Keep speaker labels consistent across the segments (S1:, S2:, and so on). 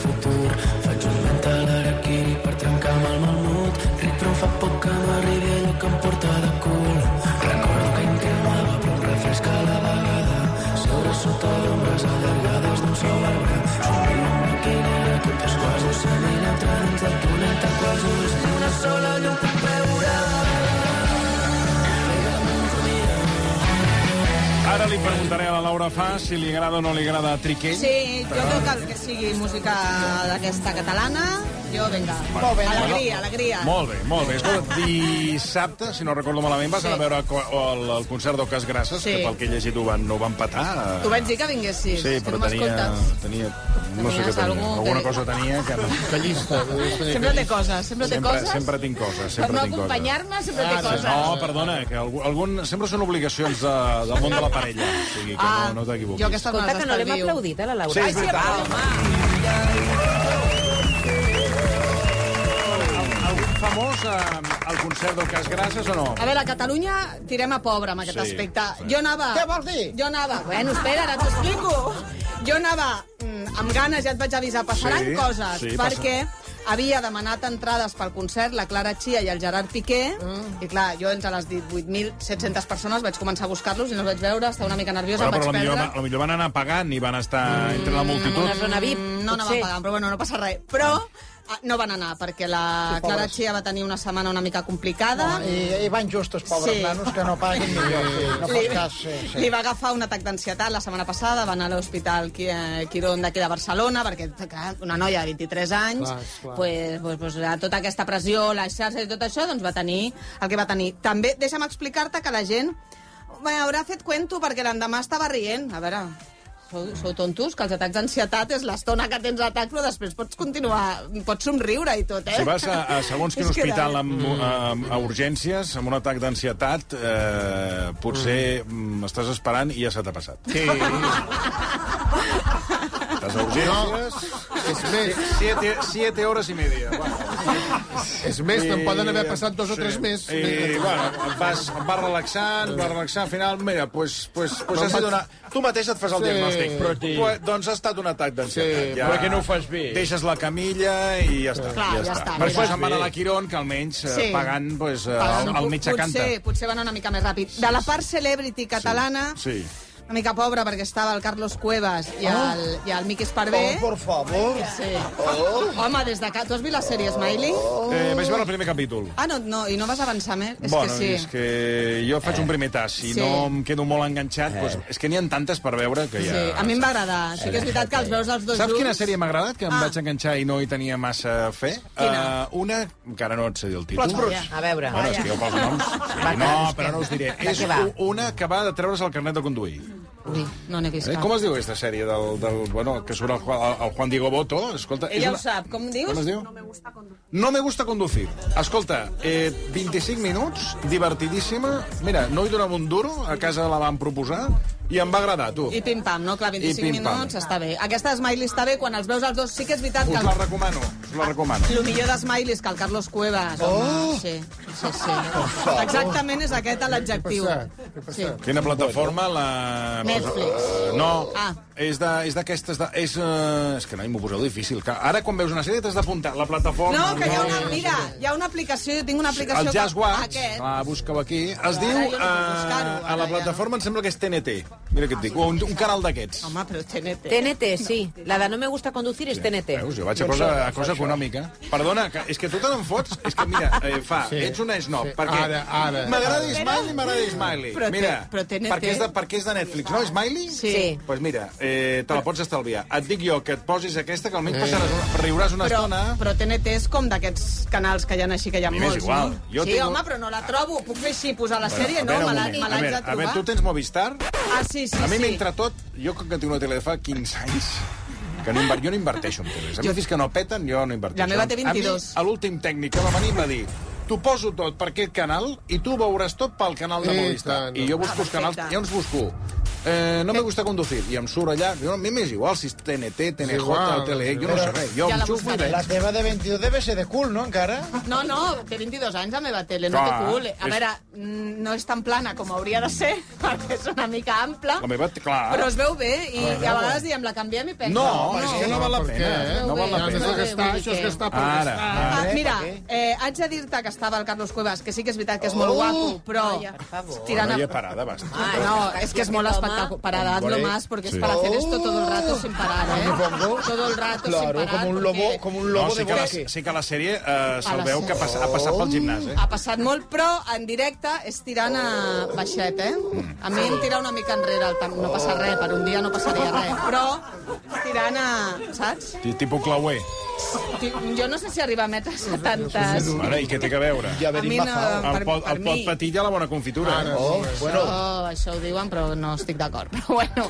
S1: futur Faig un mental araquiri per trencar-me el malmut Ric però fa poc que m'arribi allò que em porta de cul Recordo que em cremava però em refresca a la vegada Seure sota d'ombres allargades d'un sol arbre Somriu amb la quinera que tot és quasi oceània Dins del túnel tan quasi i una sola llum puc veure
S2: Ara li preguntaré a la Laura Fa si li agrada o no li agrada Triquell.
S3: Sí, jo total que sigui música d'aquesta catalana, jo, vinga, alegria, alegria.
S2: Molt bé, molt bé. Escolta, dissabte, si no recordo malament, vas
S3: Sí.
S2: anar a veure co- el, el concert d'Oques Grasses,
S3: Sí.
S2: que pel que he llegit ho van, no ho van patar.
S3: Tu vaig dir que vinguessis,
S2: Sí,
S3: que
S2: però
S3: no
S2: tenia,
S3: m'escoltes.
S2: tenia... No sé
S3: Tenies
S2: què tenia.
S3: algú
S2: Alguna
S3: que-
S2: cosa tenia que... No. Que llista.
S3: Sempre té coses, sempre, té
S2: Sempre,
S3: coses.
S2: sempre tinc coses,
S3: Per
S2: sempre
S3: no
S2: tinc coses.
S3: acompanyar-me sempre
S2: Ah,
S3: té coses.
S2: No, perdona, que algun, algun, sempre són obligacions de, del món de la parella. O sigui, que
S3: Ah,
S2: no, no t'equivoquis.
S3: jo aquesta me
S4: Escolta,
S3: les
S4: que no l'hem
S3: estalvio.
S4: aplaudit, a la Laura.
S2: Sí,
S3: Ai,
S2: és
S3: sí,
S2: veritat.
S3: home,
S2: Algun famós eh, al concert del Cas Grasses o no?
S3: a veure, a Catalunya tirem a pobre amb aquest
S2: Sí,
S3: aspecte.
S2: sí.
S3: Jo anava...
S5: Què vols dir?
S3: Jo anava... Bueno, espera, ara t'ho explico. Jo anava mm, amb ganes, ja et vaig avisar, passaran
S2: Sí,
S3: coses,
S2: sí, passa-
S3: perquè havia demanat entrades pel concert la Clara Chia i el Gerard Piqué, mm. i clar, jo entre les 18.700 persones vaig començar a buscar-los i no els vaig veure, estava una mica nerviosa,
S2: Bueno,
S3: em
S2: però
S3: vaig
S2: la
S3: perdre.
S2: millor, la millor van anar pagant i van estar entre la multitud.
S4: Una zona VIP,
S3: Mm, No
S4: potser.
S3: anaven pagant, però bueno, no passa res. Però ah, no van anar, perquè la Clara Chia va tenir una setmana una mica complicada.
S5: I, I van justos, pobres
S3: Sí.
S5: sí. nanos, que no paguin millor. Sí. No fos cas, sí, sí.
S3: li va agafar un atac d'ansietat la setmana passada, va anar a l'Hospital Qui- eh, Quirón d'aquí de Barcelona, perquè clar, una noia de 23 anys,
S5: Clar, clar.
S3: Pues, pues, pues, a tota aquesta pressió, les xarxes i tot això, doncs va tenir el que va tenir. També, deixa'm explicar-te que la gent bé, haurà fet cuento perquè l'endemà estava rient. A veure, sou, sou tontos, que els atacs d'ansietat és l'estona que tens atac, però després pots continuar, pots somriure i tot, eh?
S2: Si vas a, a segons quin
S3: És que
S2: hospital
S3: de-
S2: amb,
S6: Mm.
S2: a, a urgències, amb un atac d'ansietat, eh, potser mm. estàs esperant i ja se t'ha passat.
S6: Sí.
S2: Estàs a
S6: No,
S2: urgències...
S6: és més,
S2: Siete, siete hores i media. Bueno,
S6: és més, te'n poden haver passat dos o tres més.
S2: I, Eh, bueno, et vas, et vas relaxant, et vas relaxar, al final, mira, pues, pues, pues
S6: Me'n
S2: has de
S6: vaig-
S2: donar... Tu mateix et fas el
S6: Sí,
S2: diagnòstic.
S6: però
S2: Però, doncs ha estat un atac d'ansietat.
S6: Sí, però que no ho fas bé.
S2: Deixes la camilla i ja està.
S3: Clar, ja està,
S2: Per
S3: mira.
S2: això se'n van a la Quirón, que almenys eh,
S3: Sí.
S2: pagant pues, eh, el, el metge canta.
S3: Potser, potser van una mica més ràpid. De la part celebrity catalana,
S2: Sí. Ah.
S3: una mica pobra perquè estava el Carlos Cuevas i el, i el Miqui Esparvé.
S5: Oh, por favor.
S3: Sí.
S2: Oh.
S3: Home, des de... ca- Tu has vist la sèrie Smiley?
S2: Eh, vaig veure el primer capítol.
S3: Ah, no, no, i no vas avançar més? És
S2: bueno,
S3: que sí.
S2: és que jo faig un primer tas. Si
S3: Sí.
S2: no em quedo molt enganxat,
S6: Eh.
S2: doncs, és que n'hi ha tantes per veure que ja...
S3: Sí, a mi em va agradar. Sí que és veritat que els veus els dos
S2: Saps quina
S3: junts.
S2: sèrie m'ha agradat, que em
S3: Ah.
S2: vaig enganxar i no hi tenia massa fe?
S3: Quina? Ah,
S2: Eh, una, encara no et sé dir el títol.
S4: A veure.
S2: Bueno, és que jo pels noms... No, però no us diré. És
S4: què va?
S2: u- una que va de treure's el carnet de conduir.
S3: Ui, no n'he vist
S2: Eh?
S3: cap.
S2: Com es diu aquesta sèrie del... del bueno, que surt el, Juan- el Juan Diego Boto? Escolta, és
S3: Ella
S2: una...
S3: ho sap, com dius?
S2: Com es diu? No me gusta conducir. No me gusta conducir. Escolta, eh, 25 minuts, divertidíssima. Mira, no hi donava un duro, a casa la van proposar, i em va agradar, tu.
S3: I pim-pam, no? Clar, 25
S2: I pim-pam.
S3: minuts, està bé. Aquesta Smiley està bé, quan els veus els dos sí que és veritat que...
S2: Us la recomano, us la recomano.
S3: El millor de Smiley és que el Carlos Cuevas, oh! home, sí, sí, sí. Exactament és aquest l'adjectiu. Sí.
S2: Quina plataforma? La...
S3: Netflix.
S2: Eh, No,
S3: Ah.
S2: és de- és d'aquestes... De, és, uh, és que no, m'ho poseu difícil. Que ara, quan veus una sèrie, t'has d'apuntar la plataforma.
S3: No, que hi ha una... Mira, hi ha una aplicació, jo tinc una
S2: El
S3: aplicació... que-
S2: Jazz Ah. Watch,
S3: Aquest.
S2: la busca-ho aquí, es diu...
S3: jo no puc
S2: eh,
S3: buscar-ho,
S2: a
S3: ara
S2: la
S3: ja
S2: plataforma em sembla que és TNT. Mira què et dic, o un, un canal d'aquests.
S3: Home, però TNT.
S4: TNT, sí. La de No me gusta conducir és TNT.
S2: Veus, jo vaig a
S6: Doncs
S2: cosa, a cosa econòmica. Perdona, que, és que tu te n'en fots. És que, mira, eh, fa, sí,
S6: Sí,
S2: ets una snob.
S6: sí.
S2: Perquè
S6: Ara, ara.
S2: M'agrada Smiley, m'agrada Smiley.
S3: Però té-
S2: mira,
S3: però TNT.
S2: perquè, és de, perquè és de Netflix, no? Smiley?
S3: Sí.
S4: Sí.
S2: Pues mira, eh, te la pots estalviar. Et dic jo que et posis aquesta, que almenys passaràs una, riuràs una
S3: Però,
S2: estona...
S3: però TNT és com d'aquests canals que hi ha així, que hi ha
S2: mi m'és
S3: molts,
S2: igual.
S3: no?
S2: Jo
S3: sí,
S2: tinc-
S3: home, però no la trobo. Puc fer així, posar la sèrie?
S2: A
S3: No,
S2: veure, un
S3: me l'ha-
S2: moment.
S3: me
S2: a,
S3: l'haig
S2: veure,
S3: de
S2: a veure,
S3: trobar.
S2: tu tens Movistar?
S3: Ah, sí, sí,
S2: A mi
S3: sí.
S2: m'entra tot, jo com que tinc una tele de fa 15 anys, que no inver... jo no inverteixo en teles. A mi, fins que no peten, jo no inverteixo.
S3: La meva té 22.
S2: A mi, a l'últim tècnic que va venir em va dir T'ho poso tot per aquest canal i tu ho veuràs tot pel canal de
S6: I
S2: Movistar.
S6: Eh, tant.
S2: I jo busco
S3: Ah,
S2: els canals...
S3: perfecte.
S2: Jo ens busco... Eh, no me gusta conducir. I em surt allà... Jo, a mi m'és igual si és TNT, TNJ,
S6: igual.
S2: TLE... E, Jo no sé res. Jo
S3: Ja
S2: em
S3: la
S2: xufo i
S3: buscaré.
S5: La
S2: veig.
S5: teva de 22 deve ser de cul, no, encara?
S3: No, no, té 22 anys la meva tele, no té
S2: Clar,
S3: cul. A
S2: és-
S3: veure, mm, no és tan plana com hauria de ser, perquè és una mica ampla,
S2: La meva... Clar.
S3: però es veu bé i a, vegades diem, la canviem i pensa...
S2: No, és que no val la
S6: Per
S2: pena.
S6: què? eh?
S2: No val la
S6: Ja
S2: pena.
S6: has de gastar,
S4: Vull dir
S6: això és
S4: que-
S6: gastar per
S2: Ara.
S6: gastar.
S3: Ah,
S5: Eh,
S3: mira,
S5: per què?
S3: eh, haig de dir-te que estava el Carlos Cuevas, que sí que és veritat que és molt
S5: Oh!
S3: guapo, però...
S4: Ai, per favor.
S3: tirant a...
S2: Noia parada, basta.
S4: Ah,
S3: Ah, no, es que es mola
S4: Toma.
S3: espectacular. Para darlo
S2: Hombre.
S3: más, porque es
S2: Sí.
S3: para hacer esto todo el rato sin parar, ¿eh? Todo el rato sin
S5: Claro,
S3: parar.
S5: com un
S3: porque
S5: lobo, com un lobo
S2: No, sí
S5: de
S2: que la,
S5: bosque.
S2: sí que la sèrie eh, se'l
S3: la
S2: veu que ha passat, ha passat pel gimnàs, eh?
S3: Ha passat molt, però en directe és tirant a baixet, eh? A mi em tira una mica enrere, el tam... no passa res, per un dia no passaria res, però tirant a... saps?
S2: Tipo clauer.
S3: Ti- Jo no sé si arriba a metres setantes.
S2: Mare, i què té que veure?
S5: I
S3: A mi no,
S5: averinmazado.
S3: per,
S2: El pot,
S3: per
S2: el
S3: mi.
S2: pot patilla a la bona confitura.
S6: Ara.
S2: eh?
S5: Oh, bueno,
S3: Oh, això ho diuen, però no estic d'acord. Però bueno,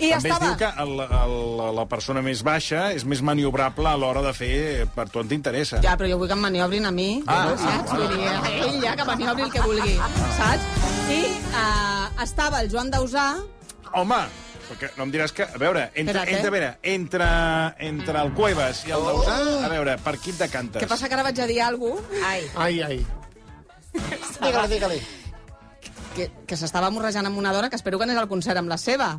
S3: i
S2: També es
S3: estava...
S2: diu que el, el, la persona més baixa és més maniobrable a l'hora de fer per tu on t'interessa.
S3: Ja, però jo vull que em maniobrin a mi,
S2: Ah,
S3: ah, saps?
S2: ah,
S3: Vull dir, a ell ja que maniobri el que vulgui, saps? I eh, estava el Joan Dausà,
S2: Home, perquè no em diràs que... A veure, entre,
S3: Espera't, eh?
S2: entre, a veure, entre, entre el Cuevas i el Dausà, a veure, per qui et decantes?
S3: que passa que ara vaig a dir alguna cosa,
S4: Ai,
S6: Ai, ai.
S5: digue-li, digue-li.
S3: que, que s'estava morrejant amb una dona que espero que anés al concert amb la seva.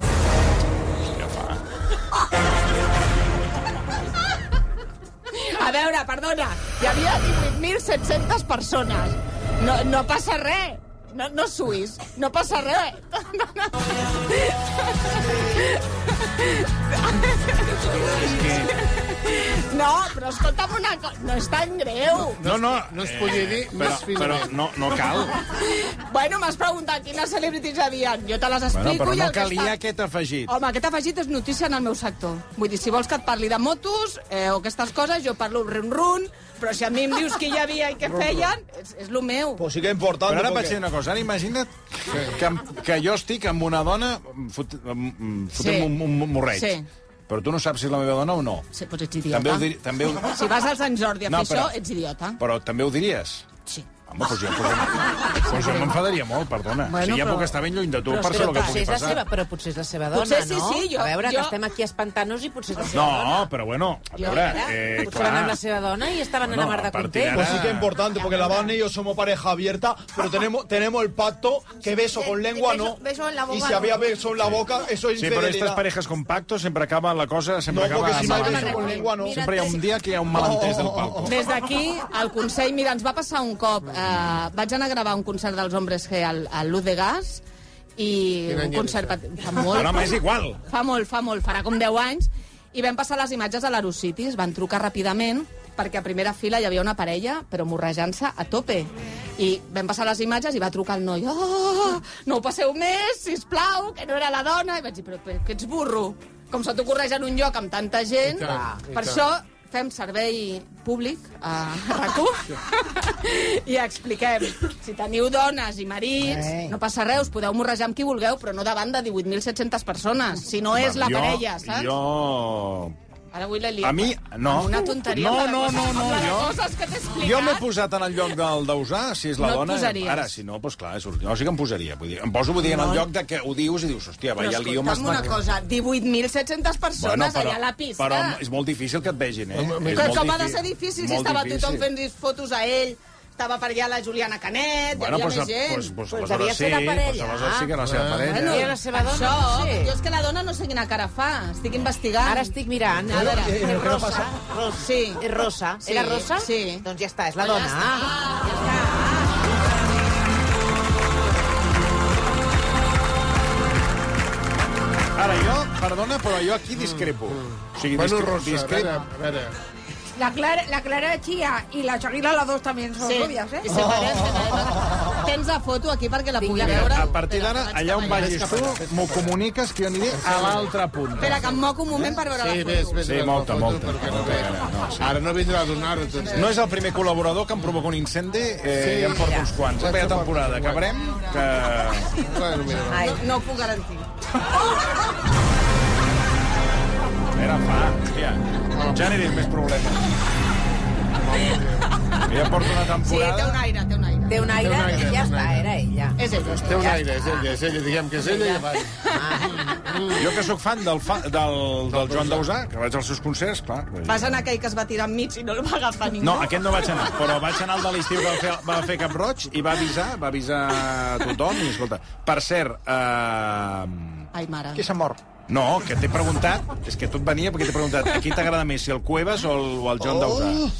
S3: A veure, perdona, hi havia 18.700 persones. No, no passa res. No, no suis, no passa res. No, no. No, però escolta'm una cosa, no és tan greu.
S2: No, no,
S6: No es podia dir
S2: però,
S6: més
S2: però
S6: finament.
S2: no, no cal.
S3: Bueno, m'has preguntat quines celebrities hi havia. Jo te les explico
S2: Bueno, però
S3: i
S2: no
S3: el que
S2: calia
S3: està...
S2: aquest afegit.
S3: Home, aquest afegit és notícia en el meu sector. Vull dir, si vols que et parli de motos eh, o aquestes coses, jo parlo run-run, però si a mi em dius qui hi havia i què feien, és, és lo meu.
S5: Pues sí que és important.
S2: Però ara vaig dir
S5: perquè...
S2: una cosa, ara imagina't que, que jo estic amb una dona fot, mm, fotent
S3: Sí.
S2: un, un, un morreig.
S3: Sí.
S2: Però tu no saps si és la meva dona o no.
S3: Sí,
S7: pues
S3: doncs ets idiota.
S2: També ho, dir, també ho,
S3: Si vas al Sant Jordi a
S2: No,
S3: fer
S2: però-
S3: això, ets idiota.
S2: però també ho diries.
S3: Sí.
S2: Home, doncs jo, doncs, doncs jo m'enfadaria molt, perdona. Bueno, o sigui, ja
S3: però-
S2: puc estar ben lluny de tu
S4: però,
S2: per
S4: però,
S2: ser el que
S4: potser
S2: pugui
S4: és la
S2: passar.
S4: seva, però potser és la seva dona,
S3: Potser sí,
S4: no?
S3: sí, jo-
S4: a veure,
S3: jo-
S4: que estem aquí espantant-nos i potser és la seva dona.
S2: No, però bueno, a
S4: Jo,
S2: veure...
S4: a veure,
S2: Eh,
S4: potser van amb
S2: clar,
S4: la seva dona i estaven
S2: Bueno,
S4: en una mar
S2: a
S4: de
S2: partir
S4: content.
S2: d'ara-
S5: Pues sí que es importante, porque la Habana y yo somos pareja abierta, pero tenemos, tenemos el pacto que beso con lengua no.
S7: Beso- beso en la boca,
S5: y si había beso en la boca, eso es
S2: Sí, però
S5: infidelidad.
S2: aquestes parejas con pactos sempre acaba la cosa... Sempre
S5: No,
S2: acaba
S5: perquè si no
S2: mal.
S5: hay beso con lengua, no.
S2: Sempre hi ha un dia que hi ha un malentès del palco.
S3: Des d'aquí, el Consell, mira, ens va passar un cop. Eh, vaig anar a gravar un concert dels Hombres G al, al Luz de Gas i
S6: Quin any
S3: un
S6: era
S3: concert...
S6: això?
S3: pa- Fa molt,
S2: Però, home, és igual.
S3: Fa molt, fa molt, farà com 10 anys. I vam passar les imatges a l'Aerocities, van trucar ràpidament, perquè a primera fila hi havia una parella, però morrejant-se a tope. I vam passar les imatges i va trucar el noi. Oh, no ho passeu més, si plau, que no era la dona. I vaig dir, però, però que ets burro. Com se t'ocorreix en un lloc amb tanta gent.
S6: I tant, i
S3: per
S6: tant.
S3: això fem servei públic a RAC1 i expliquem. Si teniu dones i marits,
S2: Eh.
S5: Ei.
S3: no passa res, us podeu morrejar amb qui vulgueu, però no davant de 18.700 persones. Si no és la
S2: jo,
S3: parella, saps?
S2: Jo...
S3: Ara avui la lio.
S2: A mi, no.
S3: Amb una tonteria.
S2: No,
S3: amb la
S2: no,
S3: cosa-
S2: no, no,
S3: amb la
S2: jo-
S3: coses que t'he explicat.
S2: Jo m'he posat en el lloc del Dausà, si és la
S3: No et
S2: dona...
S3: posaries.
S2: Ara, si no, doncs clar, surt... no, sí que em posaria. Vull dir, em poso vull dir, en el lloc de que ho dius i dius, hòstia,
S3: Però
S2: vaya lío... m'has
S3: escolta'm una
S2: marcat".
S3: cosa, 18.700 persones allà a la pista.
S2: Però és molt difícil que et vegin, eh? És
S3: que
S2: molt
S3: com ha de
S2: difí-
S3: ser difícil si
S2: molt
S3: estava
S2: difícil.
S3: tothom fent fotos a ell, estava per allà la Juliana Canet,
S2: Bueno,
S3: hi havia
S2: doncs,
S3: més gent.
S2: doncs, doncs,
S4: Pues devia
S2: aleshores sí,
S4: ser la parella.
S2: doncs, aleshores sí que era la
S6: Ah,
S2: seva parella.
S4: Bueno, I a la seva dona,
S3: Ah, Això,
S4: no sé.
S3: jo és que la dona no sé quina cara fa, estic investigant.
S4: Ara estic mirant.
S3: A veure,
S5: Eh, eh,
S4: és
S5: però
S4: rosa.
S5: passa-
S3: Sí.
S4: És rosa.
S3: Sí,
S4: Era rosa?
S3: sí.
S4: Doncs ja està, és la dona.
S3: Ah,
S2: Ara, jo, perdona, però jo aquí discrepo. O sigui,
S6: Bueno,
S2: discre-
S6: Rosa, a veure,
S2: discrepo.
S6: a veure.
S7: La Clara, la Clara Chía y la Shakira, las dos también son
S3: Sí.
S7: novias, ¿eh?
S3: I
S4: Oh.
S3: si pareix, que tenim- Tens la foto aquí perquè la pugui
S2: Mira,
S6: Ah,
S3: veure.
S2: a partir d'ara,
S3: Espera,
S2: allà on
S3: vaig cap
S2: vagis tu, m'ho comuniques que jo aniré a l'altra punta.
S3: Espera, que em moc un moment per veure
S6: Eh? Sí,
S3: la
S6: ves,
S3: foto.
S6: ves.
S2: Sí,
S6: a la
S2: molta,
S6: foto,
S2: molta,
S6: perquè no
S2: molta
S6: ve.
S2: gana, no, sí.
S6: Ara no vindrà a eh? donar atenció.
S2: No és el primer col·laborador que em provoca un incendi, eh, sí, ja en porto uns quants.
S6: Vaig
S2: Aquesta
S6: tapar-
S2: temporada acabarem, que...
S6: Bueno, mira, va.
S3: No, no ho puc garantir.
S2: Era fa, hòstia. Ja aniré amb més problemes. Ja porta una
S3: Sí, té un
S2: temporada...
S3: aire, té un aire.
S4: Té un aire,
S6: Té un aire,
S4: i ja
S6: té un
S4: està,
S6: aire.
S4: era ella.
S3: És ella.
S6: Té un aire, és ella, és ella, diguem que és ella i va.
S2: Jo que sóc fan del, fa, del, del Joan Dausà, que vaig als seus concerts, clar...
S3: Vas anar aquell que es va tirar enmig i no el va agafar ningú.
S2: No, aquest no vaig anar, però vaig anar al de l'estiu que va fer, va fer Cap Roig i va avisar, va avisar a tothom. I, escolta, per cert, eh,
S3: Ai, mare.
S5: Qui s'ha mort?
S2: no, que t'he preguntat, és que tot venia perquè t'he preguntat, a qui t'agrada més, si el Cuevas o el, o el Joan Dausà?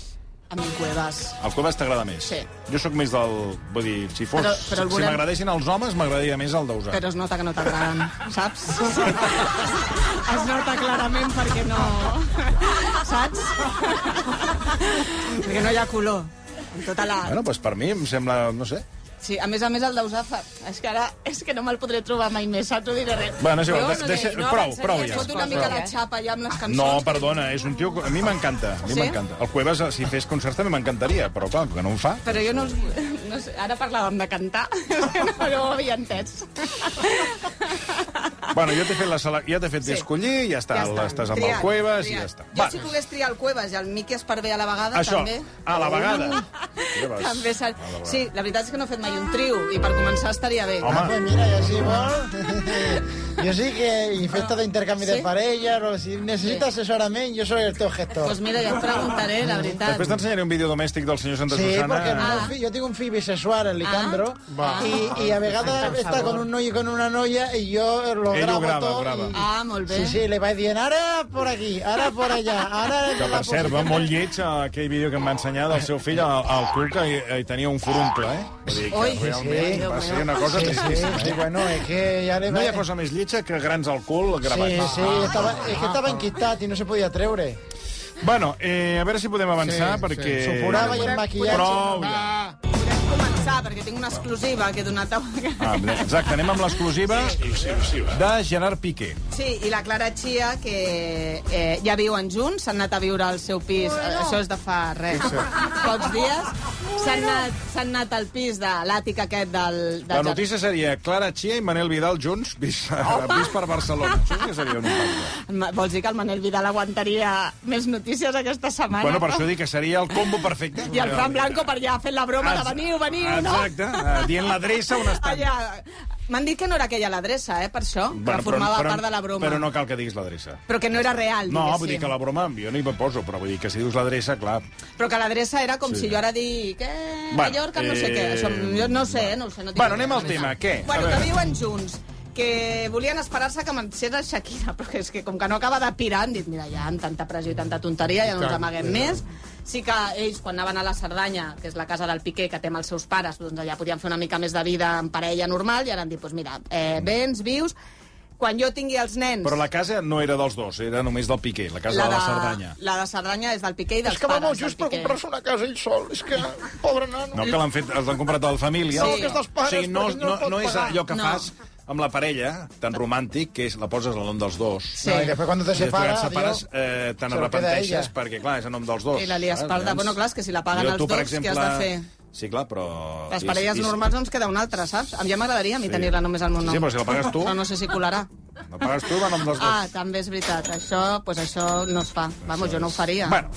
S3: A mi Cuevas.
S2: El Cuevas t'agrada més?
S3: Oh! Sí.
S2: Jo sóc més del... Vull dir, si fos...
S3: Però- però el
S2: Si
S3: volem-
S2: m'agradessin els homes, m'agradaria més el Dausà.
S3: Però es nota que no t'agraden, saps? es nota clarament perquè no... Saps? perquè no hi ha color. Amb Tota la...
S2: Bueno, doncs per mi em sembla, no sé...
S3: Sí, a més a més el Dausà fa... És que ara és que no me'l podré trobar mai més, saps? No diré res.
S2: Bueno, és igual,
S4: Jo
S2: de,
S4: no
S2: deixa,
S4: dic, no
S2: prou,
S4: avançaria,
S2: prou
S4: es
S2: ja.
S3: Fot una
S4: Coses,
S3: mica
S4: eh?
S3: la xapa ja amb les
S2: No,
S3: cançons.
S2: perdona, és un tio... que- A mi m'encanta, a mi
S3: Sí?
S2: m'encanta. El Cuevas, si fes concerts, també m'encantaria, però clar, que no ho fa.
S3: Però jo no, els, no sé, ara parlàvem de cantar, no, no ho havia entès.
S2: Bueno, ja t'he fet, la sele... ja t'he fet sí. escollir, ja està, ja
S3: està.
S2: estàs amb
S3: Triat,
S2: el Cuevas i
S3: triat.
S2: ja està.
S3: Jo si pogués triar el Cuevas i el Miqui Esparvé a la vegada,
S2: això,
S3: també. Oh.
S2: a la vegada. Ja vas.
S3: També
S2: A
S3: sal...
S2: la vegada.
S3: Sí, la veritat és que no he fet mai un trio, i per començar estaria bé.
S2: Home,
S8: Pues mira, yo sí, voy. yo sí que infecto de intercambio de
S3: ¿Sí?
S8: parejas, o si necesitas asesoramiento, yo soy el teu gestor.
S2: Pues,
S3: Doncs mira, ja et preguntaré, la veritat.
S2: després t'ensenyaré un vídeo domèstic del senyor Santa Ah,
S8: Sí,
S2: Susana.
S8: porque el meu fill- jo tinc un fill bisexual, el Licandro, i, i a vegades està con un noi i con una noia i jo lo
S2: Ell ho
S8: gravo
S2: grava,
S8: tot.
S2: grava.
S8: I...
S3: Ah, molt bé.
S8: Sí, sí, li vaig dient, ara por aquí, ara por allà, ara...
S2: Que, per cert, va molt lleig eh, aquell vídeo que em va ensenyar del seu fill al, al cul, que hi, hi tenia un furuncle, eh? Vull dir que
S3: Ui, sí,
S2: realment
S8: sí.
S2: va ser una cosa
S8: Sí, sí,
S2: tristíssima.
S5: eh?
S8: sí, bueno, és que ja li
S2: No hi
S8: vaig...
S2: ha cosa més lletja que grans al cul
S8: Sí,
S2: gravats.
S8: sí,
S5: Ah.
S8: estava, és que estava enquistat i no se podia treure.
S2: Bueno, eh, a veure si podem avançar,
S6: Sí,
S2: perquè...
S6: sí.
S8: Supurava i el maquillatge.
S2: Prou, ja.
S6: Va,
S3: Podem començar, perquè tinc una exclusiva que he donat a...
S2: Ah, exacte, anem amb l'exclusiva de Gerard Piqué.
S8: Doncs
S3: Sí, i la Clara Chia, que eh, ja viuen junts, s'han anat a viure al seu pis, bueno. això és de fa res, pocs dies. S'han anat, s'han anat al pis de l'àtic aquest del... del
S2: La notícia seria Clara Chia i Manel Vidal junts vist, vist per Barcelona. Això sí que seria un impacte.
S3: Ma- Vols dir que el Manel Vidal aguantaria més notícies aquesta setmana?
S2: Bueno, per això dic que seria el combo perfecte.
S3: I el Fran Blanco per allà fent la broma de veniu, veniu, no?
S2: Exacte, eh, dient l'adreça on estan.
S3: Allà... M'han dit que no era aquella l'adreça, eh, per això,
S2: Bueno,
S3: que formava part de la broma.
S2: Però no cal que diguis l'adreça.
S3: Però que no era real,
S2: No,
S3: diguéssim.
S2: vull dir que la broma, jo no hi me poso, però vull dir que si dius l'adreça, clar...
S3: Però que l'adreça era com
S2: Sí.
S3: si jo ara dic... Eh,
S2: Bueno,
S3: Mallorca, no sé
S2: eh,
S3: què. Això, jo no sé, eh, no ho sé. No tinc
S2: Bueno,
S3: ni
S2: anem
S3: idea,
S2: al
S3: la veritat.
S2: tema, què? A
S3: Bueno, que
S2: veure.
S3: viuen junts que volien esperar-se que marxés a Shakira, però que és que com que no acaba de pirar, han dit, mira, ja amb tanta pressió i tanta tonteria, ja no ens amaguem més. Sí que ells, quan anaven a la Cerdanya, que és la casa del Piqué, que té amb els seus pares, doncs allà podien fer una mica més de vida en parella normal, i ara han dit, doncs mira, eh, vens, vius, quan jo tingui els nens...
S2: Però la casa no era dels dos, era només del Piqué, la casa de la Cerdanya.
S3: La de Cerdanya és del Piqué i dels
S8: És que va
S3: pares
S8: molt
S3: del
S8: just per
S3: Piqué.
S8: comprar-se una casa ell sol. És que, pobre nano.
S2: No, que l'han fet, els han comprat a la família.
S3: Sí. No, que és
S8: dels pares,
S2: o sigui, no,
S8: perquè no
S2: no,
S8: el pot
S2: no és
S8: pagar.
S2: allò que
S3: No.
S2: fas amb la parella, tan romàntic, que és la poses al nom dels dos.
S3: Sí.
S8: Sí. No, i després quan te
S2: I després
S8: separes,
S2: et separes,
S8: adiós.
S2: eh, te
S8: Se lo queda
S2: n'arrepenteixes,
S8: ella.
S2: perquè, clar, és a nom dels dos.
S3: I la lies
S2: saps?
S3: parda.
S2: Llavors,
S3: Bueno, clar, és que si la paguen
S2: jo,
S3: els
S2: tu, per
S3: dos, què has de fer?
S2: Sí, clar, però...
S3: Les
S2: i-
S3: parelles
S2: i-
S3: normals no ens queda una altra, saps? A mi ja m'agradaria a mi tenir-la només al meu
S2: Sí,
S3: nom.
S2: sí, però si la pagues tu.
S3: Però no sé si colarà.
S2: La pagues tu, va a nom dels dos.
S3: Ah, també és veritat. Això, pues això no es fa. Vamos, jo no ho faria.
S2: Bueno,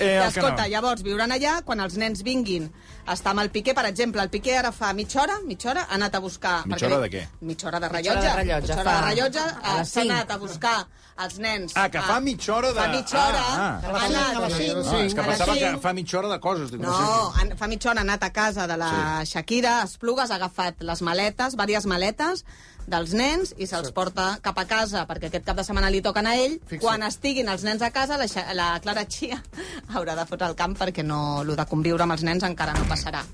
S2: eh,
S3: I,
S2: el
S3: escolta,
S2: canal.
S3: llavors viuran allà, quan els nens vinguin a estar amb el Piqué, per exemple, el Piqué ara fa mitja hora, mitja hora, ha anat a buscar...
S2: Mitja
S3: perquè-
S2: hora de què?
S3: Mitja hora de
S4: Mitja
S3: rellotge.
S4: hora de rellotge,
S3: Mitja hora de
S4: fa-
S3: rellotge,
S4: a
S3: eh,
S4: les
S3: s'ha
S4: cinc.
S3: anat a buscar els nens.
S2: Ah, que fa
S3: a-
S2: mitja hora de-
S3: Fa mitja hora,
S2: Ah, ah.
S3: ha anat...
S8: A les cinc,
S2: Ah, és que
S3: a les
S2: pensava que
S3: cinc.
S2: fa mitja hora de coses. dic,
S3: No, an- fa mitja hora ha anat a casa de la Shakira, a Esplugues, ha agafat les maletes, diverses maletes dels nens i se'ls porta cap a casa perquè aquest cap de setmana li toquen a ell. Quan estiguin els nens a casa, la, Xa- la Clara Chia haurà de fotre al camp perquè no, lo de conviure amb els nens encara no passarà.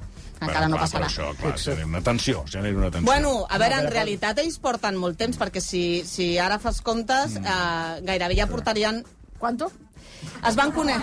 S3: Encara
S2: Bueno,
S3: no
S2: clar, però
S3: passarà.
S2: Això, clar, genera una tensió, genera una tensió.
S3: Bueno, a veure, en realitat ells porten molt temps, perquè si, si ara fas comptes, eh, gairebé ja portarien... Quanto? Es van conèixer...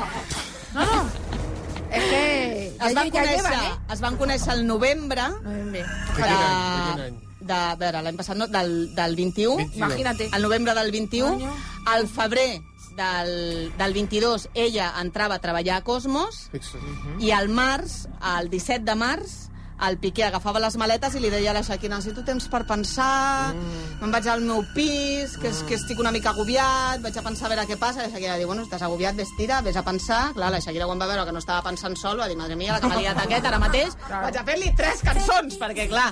S7: Es que
S3: Es
S7: ya,
S3: van
S7: ya
S3: conèixer,
S7: llevan, ¿eh?
S3: es van conèixer el novembre
S7: Noviembre.
S3: de, de, a veure, l'any passat, no, del, del 21,
S7: Imagínate.
S3: el novembre del 21,
S7: Coño.
S3: al febrer del, del 22 ella entrava a treballar a Cosmos
S6: fixa't.
S3: i al març, el 17 de març, el Piqué agafava les maletes i li deia a la Shakira, necessito temps per pensar,
S7: Mm.
S3: me'n vaig al meu pis, que, és, que estic una mica agobiat, vaig a pensar a veure què passa. La Shakira diu, bueno, estàs agobiat, vés tira, vés a pensar. Clar, la Shakira quan va veure que no estava pensant sol, va dir, madre mia, la que m'ha liat aquest ara mateix, vaig a fer-li tres cançons, perquè clar,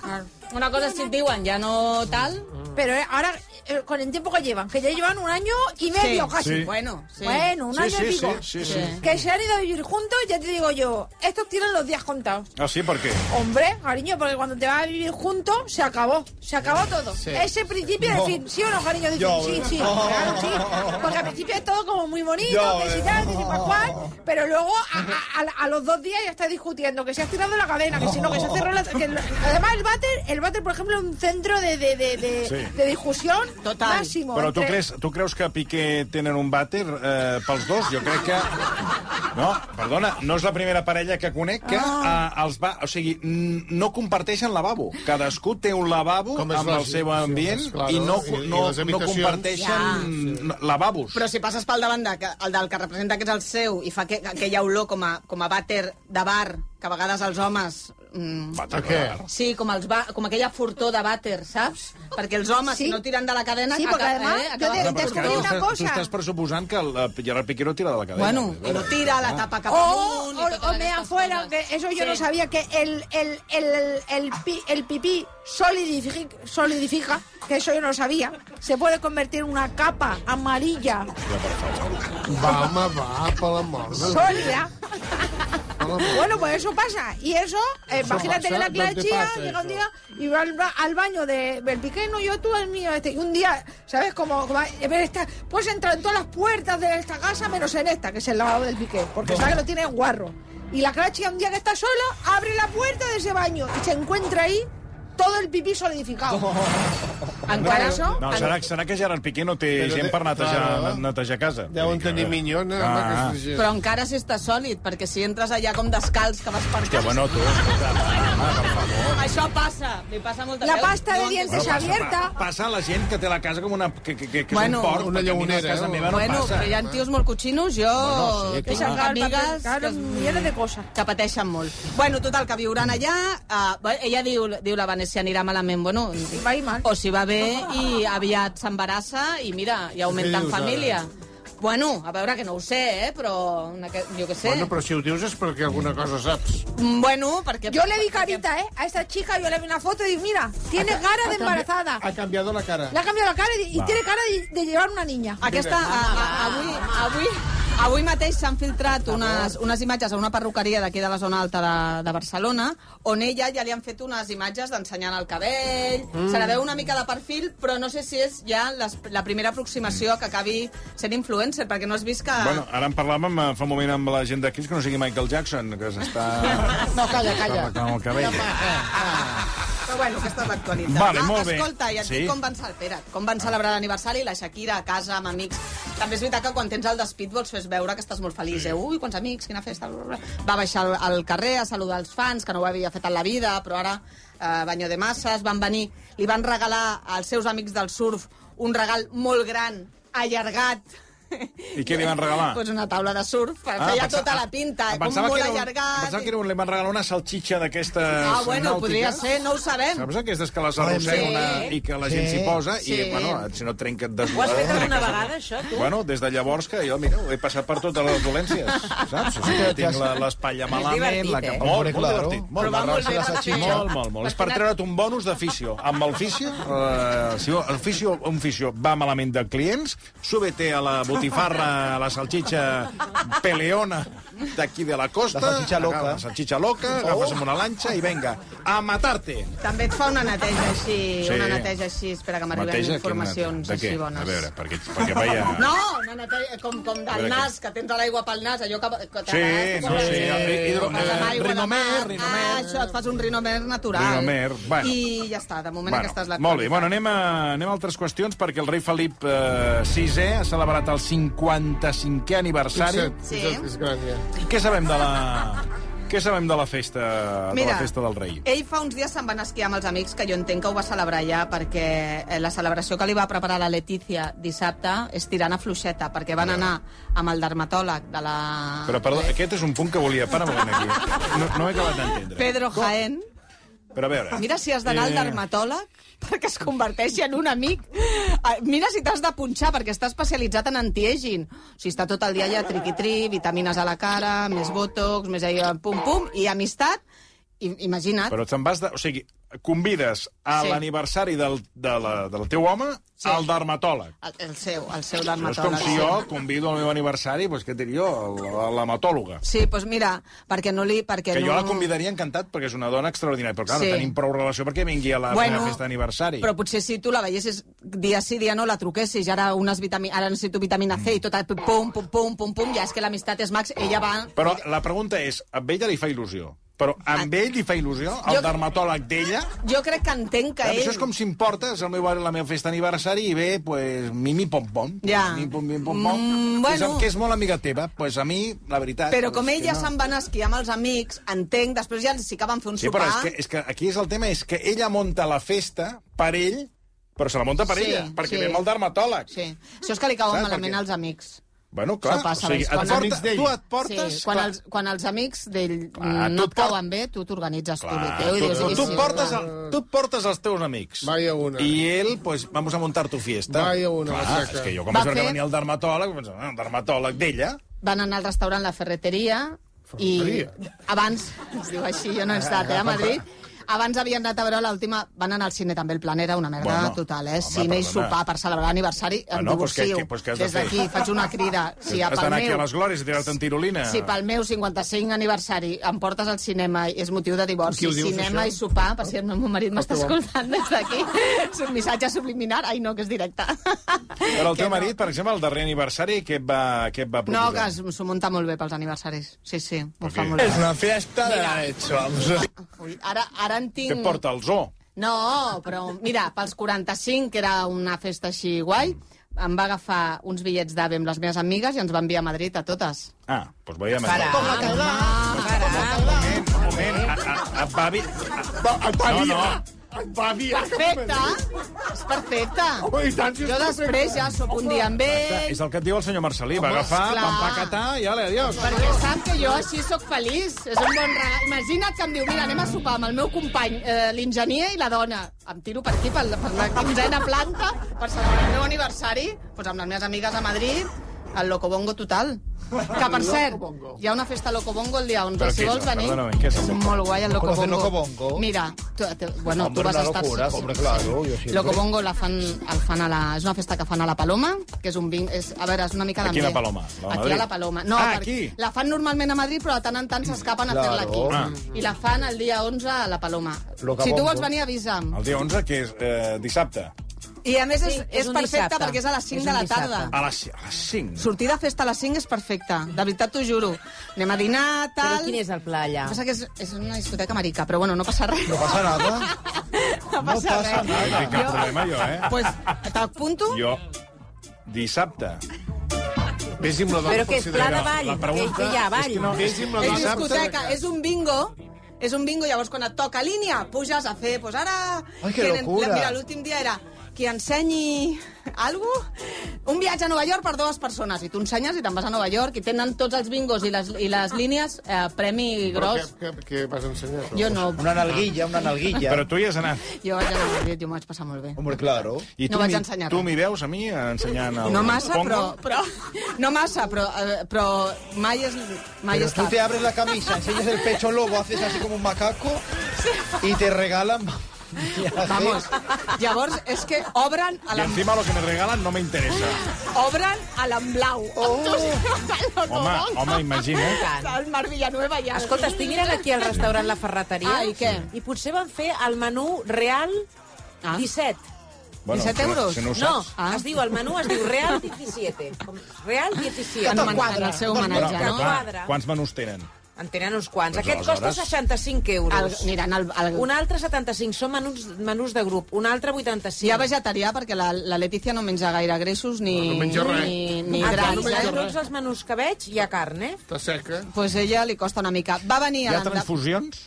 S3: una cosa és si et diuen ja no tal...
S7: Pero eh, ahora, eh, con el tiempo que llevan, que ya llevan un año y medio casi.
S2: Sí.
S3: Bueno, sí.
S7: Bueno, un
S2: Sí,
S7: año
S2: sí,
S7: y pico.
S2: sí, sí,
S3: sí.
S7: Que se han ido a vivir juntos, ya te digo yo, estos tienen los días contados.
S2: Ah, sí, per què?
S7: Hombre, cariño, porque cuando te vas a vivir juntos, se acabó. Se acabó todo. Ese principio de fin. ¿Sí o no, cariño? Dicen,
S5: Yo,
S7: sí,
S5: eh.
S7: sí.
S5: No.
S7: Claro, sí. Porque al principio es todo como muy bonito,
S5: Yo,
S7: que si
S5: eh.
S7: tal, que si pa' cual. Pero luego, a, a- a- a los dos días ya estás discutiendo que se has tirado la cadena, que si no, que se ha cerrado la... que lo- además, el váter, el váter, por ejemplo, es un centro de, de, de, de-
S2: Sí.
S7: de discusión
S3: Total.
S7: máximo.
S2: Però tu
S7: entre-
S2: creus, tu creus que Piqué tenen un vàter eh, pels dos? Jo crec que... No, perdona, no és la primera parella que conec que ah. eh, els va... O sigui, n- no comparteixen lavabo. Cadascú té un lavabo
S6: Com és
S2: amb
S6: la-
S2: el seu
S6: sí,
S2: ambient
S6: sí, claro,
S2: i no,
S6: i- i
S2: no,
S6: les Ah,
S2: no
S6: habitacions.
S2: comparteixen lavabos.
S3: Però si passes pel davant de, que el del que representa que és el seu i fa que, aquella olor com a, com a vàter de bar, que a vegades els homes... Mm,
S6: Per què?
S3: Sí, com, els va, com aquella furtó de vàter, saps? Perquè els homes, sí.
S7: Sí.
S3: si no tiren de la cadena...
S7: Sí,
S3: aca-
S7: perquè además,
S3: eh,
S7: yo
S3: acaben
S7: te-
S3: fent
S7: te
S2: és que
S3: furtó.
S7: descobrí
S2: tu
S7: una
S2: estàs-
S7: cosa.
S2: Tu estàs pressuposant que el eh, Gerard Piqué no tira de la cadena.
S3: Bueno, i no tira, la tapa
S7: Oh,
S3: cap
S7: O,
S3: amunt...
S7: o,
S3: i totes
S7: o me
S3: aquestes
S7: afuera, que
S3: coses.
S7: eso yo
S3: Sí.
S7: no sabía, que el, el, el, el, el pi- el pipí solidifica, solidifica, que eso yo no sabía, se puede convertir en una capa amarilla
S6: Va, home, va, per l'amor de Déu.
S7: sólida. Bueno, pues eso pasa. Y eso, eh, imagínate
S6: pasa,
S7: que la
S6: ¿no
S7: Clara
S6: te
S7: Chía
S6: pasa
S7: llega un
S6: eso?
S7: día y va al, ba- al baño de del Piqué, no, yo tú el mío. Este. Y un día, ¿sabes? Como, como eh, ver esta, pues entra en todas las puertas de esta casa, menos en esta, que es el lavado del Piqué, porque sabe que lo tiene en guarro. Y la Clara Chía un día que está sola, abre la puerta de ese baño y se encuentra ahí todo el pipí solidificado. Encara això...
S2: No, serà, serà que Gerard Piqué no té
S6: Però
S2: gent
S6: de-
S2: per netejar,
S6: clar.
S2: netejar casa.
S6: Deuen tenir minyona, home,
S2: Ah.
S6: aquesta gent.
S3: Però encara si està sòlid, perquè si entres allà com descalç, que vas per
S2: Que
S3: casa...
S2: bueno, tu, escolta,
S3: Això passa, li passa molta
S7: La pasta de dientes
S2: passa,
S7: abierta.
S2: pa- passa a la gent que té la casa com una... que, que, que, que
S3: Bueno,
S2: és un porc.
S6: una
S2: perquè a mi la
S6: llagunera,
S2: Casa
S6: eh?
S2: meva no
S3: Bueno,
S2: passa.
S3: però hi ha tios molt cotxinos, jo
S2: Bueno, sí,
S3: tinc
S7: clar.
S3: amigues
S7: Claro, millones de cosas.
S3: que pateixen molt. Bueno, total, que viuran allà, eh, bé, ella diu, diu la Vanessa anirà malament, bueno,
S7: Va a ir mal.
S3: o si va bé i aviat s'embarassa i mira, ja augmenten
S6: dius, ara?
S3: família. Bueno, a veure, que no ho sé, eh, però en aquest- jo què sé.
S6: Bueno, però si ho dius és perquè alguna cosa saps.
S3: Mm, bueno, perquè...
S7: Yo le vi carita, ¿eh? A esta chica yo le vi una foto y digo, mira, tiene cara de
S3: Ah.
S7: embarazada.
S6: Ha canviat la cara.
S7: Le ha cambiado la cara y, y tiene cara de, de llevar una niña.
S3: Aquesta, a, a, avui, avui, avui mateix s'han filtrat unes, unes imatges a una perruqueria d'aquí de la zona alta de, de Barcelona, on ella ja li han fet unes imatges d'ensenyant el cabell, mm. se la veu una mica de perfil, però no sé si és ja les, la primera aproximació a que acabi sent influencer, perquè no has vist que...
S2: Bueno, ara en parlàvem eh, fa un moment amb la gent d'aquí, que no sigui Michael Jackson, que s'està...
S8: No, calla,
S2: s'està
S8: calla.
S2: arreglant el cabell.
S3: Però bueno, aquesta és l'actualitat.
S2: Vale,
S3: Ah,
S2: molt bé.
S3: Escolta, i et
S2: Sí.
S3: dic com van celebrar, com van celebrar l'aniversari, la Shakira a casa, amb amics. També és veritat que quan tens el despit vols fer veure que estàs molt feliç. Eh? Ui, quants amics, quina festa... Bla, bla, bla. Va baixar al, al carrer a saludar els fans, que no ho havia fet en la vida, però ara eh, banyo de masses, van venir, li van regalar als seus amics del surf un regal molt gran, allargat,
S2: I què li van regalar?
S3: Pues una taula de surf, per ah, feia
S2: pensa-
S3: tota la pinta,
S2: ah,
S3: com
S2: pensava
S3: molt
S2: que era un-
S3: allargat.
S2: Pensava que era un, li van regalar una salxitxa d'aquestes
S3: Ah, bueno,
S2: nàutiques.
S3: podria ser, no ho sabem.
S2: Saps aquestes que les arrossega
S3: Sí.
S2: una... i que la gent
S8: Sí.
S2: s'hi posa i,
S3: Sí.
S2: bueno, si no trenca et
S4: Ho has fet
S2: desmunta.
S4: alguna vegada, això, tu?
S2: Bueno, des de llavors que jo, mira, he passat per totes les dolències, saps? O sigui, tinc la- l'espatlla malament,
S4: divertit,
S2: la
S4: eh?
S2: capa... Molt,
S8: Hombre,
S2: molt
S8: claro.
S2: divertit. Molt,
S3: Però va molt
S2: narrar-se
S3: bé,
S2: la
S3: va
S2: salxitxa.
S3: bé.
S2: molt, molt, molt. És per treure't un bonus d'oficio. Amb el fisio, eh, si el fisio, un fisio va malament de clients, súbete a la botifarra, a la salxitxa peleona d'aquí de la costa,
S5: La salxitxa loca.
S2: agafa la salxitxa loca, agafes amb una lanxa i venga, a matar-te.
S3: També et fa una neteja així,
S2: Sí.
S3: sí. una neteja així, espera que m'arriben
S2: Neteja,
S3: informacions
S2: quina- de
S3: així
S2: què?
S3: bones.
S2: A veure, perquè, perquè veia...
S3: No, una neteja com, com
S2: A
S3: del
S2: veure
S3: nas, que tens l'aigua pel nas, allò que, que
S2: Sí, no, sí, el hidro-
S3: Fas amb
S2: eh,
S3: aigua de
S2: rinomer,
S3: mar.
S2: rinomer.
S3: Ah, això, et fas un rinomer natural.
S2: Rinomer, bueno.
S3: I ja està, de moment
S2: Bueno,
S3: aquesta és la...
S2: molt bé, bueno, anem a, anem a altres qüestions, perquè el rei Felip eh, VI ha celebrat el 55è aniversari.
S6: Fixa't,
S3: Sí.
S6: fixa't, és gran, ja.
S2: Què sabem de la... Què sabem de la festa, de la festa del rei?
S3: ell fa uns dies se'n va anar a esquiar amb els amics, que jo entenc que ho va celebrar ja, perquè eh, la celebració que li va preparar la Letícia dissabte és tirant a fluixeta, perquè van anar amb el dermatòleg de la... eh.
S2: Però, perdó, aquest és un punt que volia... Para un moment aquí. No, no he acabat d'entendre.
S3: Pedro Jaén,
S2: Però a veure... Eh,
S3: Mira si has d'anar al dermatòleg perquè es converteixi en un amic. Ah, Mira si t'has de punxar perquè està especialitzat en antiaging. O sigui, està tot el dia allà triqui-tri, vitamines a la cara, més botox, més allò, pum-pum, i amistat. I, imagina't.
S2: Però te'n vas de... O sigui, convides a
S3: Sí.
S2: l'aniversari del, de la, del teu home
S3: Sí.
S2: al dermatòleg.
S3: El, el seu, el seu
S2: No és com
S3: dermatòleg.
S2: si jo convido al meu aniversari, doncs què et dic jo, a l'hematòloga.
S3: Sí, doncs mira, perquè no li... Perquè
S2: Que
S3: no...
S2: jo la convidaria encantat, perquè és una dona extraordinària. Però, clar,
S3: Sí.
S2: no tenim prou relació perquè vingui a la meva festa d'aniversari.
S3: Però potser si tu la veiessis dia sí, dia no, la truquessis, i ara, unes vitami... ara necessito vitamina C i tot el pum, pum, pum, pum, pum, ja és que l'amistat és max, ella va...
S2: Però la pregunta és, a ella li fa il·lusió? Però a ell li fa il·lusió? El
S3: Ah. Jo-
S2: dermatòleg d'ella?
S3: Jo crec que entenc que ell...
S2: Això és com si em portes al meu, a la meva festa d'aniversari i ve, pues, mimi pom pom.
S3: Ja.
S2: Mimi pom, mimi pom, pom.
S3: Mm,
S2: Que és-
S3: bueno.
S2: Que és molt amiga teva. Pues a mi, la veritat...
S3: Però com
S2: pues,
S3: ell ja
S2: que no.
S3: se'n va anar a esquiar amb els amics, entenc, després ja sí que van fer un
S2: Sí,
S3: sopar...
S2: però és que, és que aquí és el tema, és que ella monta la festa per ell, però se la monta per
S3: Sí,
S2: ella, perquè
S3: sí.
S2: ve amb el dermatòleg.
S3: Sí, això és que li cauen
S2: Saps per
S3: malament
S2: què?
S3: als amics.
S2: Bueno, clar,
S3: Això passa,
S2: o sigui,
S3: veus,
S2: et
S3: quan
S2: porta,
S3: amics
S2: tu et portes...
S3: sí, quan,
S2: clar,
S3: els, quan els amics d'ell
S2: Clar, tu
S3: mm, no
S2: et
S3: et
S2: port-
S3: cauen bé, tu t'organitzes tu.
S2: Clar,
S3: Viteu, i dius,
S2: tu,
S3: sí,
S2: tu,
S3: sí,
S2: portes
S3: clar.
S2: el, tu portes els teus amics.
S6: Vaya una.
S2: I ell, pues, vamos a montar tu fiesta.
S6: Vaya una
S2: Clar,
S6: massacre.
S2: és que jo quan
S3: Va
S2: vaig veure
S3: fer-
S2: que venia el dermatòleg, pensava, ah, el dermatòleg d'ella...
S3: Van anar al restaurant La Ferreteria i
S6: Ferreteria?
S3: abans, es diu així, jo no
S2: Ah,
S3: he estat, eh, a Madrid, abans havien anat a veure l'última... Van anar al cine també, el Planera, una merda
S2: Bueno,
S3: total, eh?
S2: home,
S3: cine i
S2: perdona.
S3: sopar per celebrar l'aniversari.
S2: Ah,
S3: Em
S2: no, doncs què-
S3: divorcio.
S2: què- doncs què has de
S3: Des
S2: fer?
S3: d'aquí faig una crida. Si a
S2: Has
S3: pel
S2: d'anar aquí
S3: meu-
S2: a les glòries i tirar-te en tirolina.
S3: Si pel meu 55 aniversari em portes al cinema i és motiu de divorci,
S5: Qui ho dius,
S3: cinema
S5: això?
S3: i sopar, per si el meu marit
S2: Ah,
S3: m'està escoltant des d'aquí, és un missatge subliminar, ai no, que és directe.
S2: Però el
S3: Que
S2: teu
S3: no.
S2: marit, per exemple, el darrer aniversari, què et va, què et va
S3: No, que
S2: proposar?
S3: es- s'ho munta molt bé pels aniversaris. Sí, sí, ho
S2: Per
S3: fa
S2: què?
S3: molt bé.
S5: una fiesta de la leche, vamos.
S3: Ui, ara, ara en tinc...
S2: Què et porta el zoo?
S3: No, però mira, pels 45, que era una festa així guai, em va agafar uns bitllets d'AVE amb les meves amigues i ens va enviar a Madrid a totes.
S2: Ah, doncs veiem.
S4: Para.
S2: Un
S4: Para.
S2: moment, a, a, a, et va... vi-
S6: Va, et va
S2: No,
S6: dir...
S2: no.
S6: Et va dir...
S3: Perfecte! És perfecte!
S6: Home, i tant, si
S3: Jo
S6: és
S3: després ja sóc un dia amb ell,
S2: És el que et diu el senyor Marcelí. Va agafar,
S3: Eh, esclar.
S2: va empacatar i ale, adiós.
S3: Perquè sap que jo així sóc feliç. És un bon regal. Imagina't que em diu, mira, anem a sopar amb el meu company, eh, l'enginyer i la dona. Em tiro per aquí, per, la- per la quinzena planta, per celebrar el meu aniversari, doncs amb les meves amigues a Madrid, el Locobongo total. Que, per cert, hi ha una festa a Locobongo el dia 11,
S2: Però
S3: si
S2: què és
S3: vols
S2: això?
S3: venir.
S2: Perdona, què és el
S3: és
S2: Locobongo?
S3: molt guai el Locobongo.
S5: ¿Conocen Locobongo?
S3: Mira, tu, te- bueno,
S5: Hombre,
S3: tu vas
S5: una
S3: a estar...
S5: locura, hombre, claro, yo siempre.
S3: Locobongo la fan, el fan a la... És una festa que fan a la Paloma, que és un vin... És, a veure, és una mica
S2: Aquí a la
S3: d'ambient.
S2: Paloma, la de
S3: Aquí a
S2: Madrid.
S3: la Paloma. No,
S2: Ah,
S3: perquè
S2: aquí.
S3: La fan normalment a Madrid, però de tant en tant s'escapen a fer-la aquí.
S2: Ah.
S3: I la fan el dia 11 a la Paloma.
S5: Locabongo.
S3: Si tu vols venir, avisa'm.
S2: El dia 11, que és eh, dissabte.
S3: I a més és,
S4: Sí, és
S3: és,
S4: un
S3: perfecte
S4: dissabte.
S3: perquè és a les 5
S4: És
S3: de
S4: un
S3: la
S4: dissabte.
S3: tarda.
S2: A les, a les 5.
S3: Sortir de festa a les 5 és perfecte, de veritat t'ho juro. Anem a dinar, tal...
S4: Però quin és el pla allà?
S3: El que passa que és, és una discoteca marica, però bueno, no passa res.
S5: No pasa nada.
S3: no passa
S5: no passa
S3: res.
S2: No tinc cap problema, jo, eh?
S3: Pues, t'apunto?
S2: Jo, dissabte.
S6: Vés-hi amb la dona
S4: Però que és pla de ball,
S2: La
S4: que,
S2: pregunta
S4: que hi ha ball.
S6: No, vés-hi amb la
S3: És
S6: dona.
S3: discoteca, és un bingo, és un bingo, llavors quan et toca línia, puges a fer, doncs ara...
S5: Ai, que
S3: tenen-
S5: locura.
S3: Mira, l'últim dia era qui ensenyi algú, un viatge a Nova York per dues persones, i tu ensenyes i te'n vas a Nova York, i tenen tots els bingos i les, i les línies, eh, premi
S6: Però
S3: gros.
S6: Què, què, què vas ensenyar? tu?
S3: Jo no,
S5: Una nalguilla, una nalguilla.
S2: Però tu hi has anat.
S3: jo vaig anar a Madrid, jo m'ho vaig passar molt bé.
S5: Hombre, claro.
S2: I
S3: No
S2: tu
S3: vaig
S2: m'hi-
S3: ensenyar
S2: Tu
S3: res.
S2: m'hi veus a mi ensenyant el
S3: No massa, però,
S2: pongo?
S3: però... No massa, però, eh, però mai és... Mai
S5: Pero
S3: és
S5: tú
S3: tard.
S5: te abres la camisa, enseñas el pecho lobo, haces así como un macaco y te regalan...
S3: Vamos. Llavors, és que obren a
S2: I
S3: la
S6: em
S2: encima lo que me regalan no me interesa.
S3: obren a l'Emblau. Oh. Ah,
S2: Home, home, imagina.
S3: El Mar Villanueva ja.
S4: Escolta, estic mirant aquí al restaurant La Ferreteria
S3: Ah, i què?
S4: i potser van fer el menú real
S3: Ah.
S4: 17.
S2: Bueno,
S3: 17
S2: si no-
S3: euros?
S2: Si no ho
S4: No,
S2: saps.
S9: Ah.
S4: es diu, el menú es diu Real 17. Com Real 17.
S3: En, homen- en el seu
S2: Però,
S3: homenatge,
S2: però,
S3: no?
S2: clar,
S4: Quadra.
S2: quants menús tenen?
S4: En tenen uns quants.
S2: Doncs
S4: Aquest costa
S2: aleshores-
S4: 65
S3: El,
S4: euros.
S3: mirant el, el,
S4: Un altre 75, són menús, menús de grup. Un altre 85.
S3: Hi ha vegetarià perquè la, la Letícia no menja gaire greixos ni,
S6: No, no menja res.
S3: ni, ni
S4: Aquí,
S3: grans.
S6: menja
S4: de
S3: eh?
S4: tots els menús que veig, hi ha carn, eh?
S6: Està seca?
S3: pues ella li costa una mica. Va venir
S2: Hi
S3: a
S2: ha
S3: l'endemà.
S2: transfusions?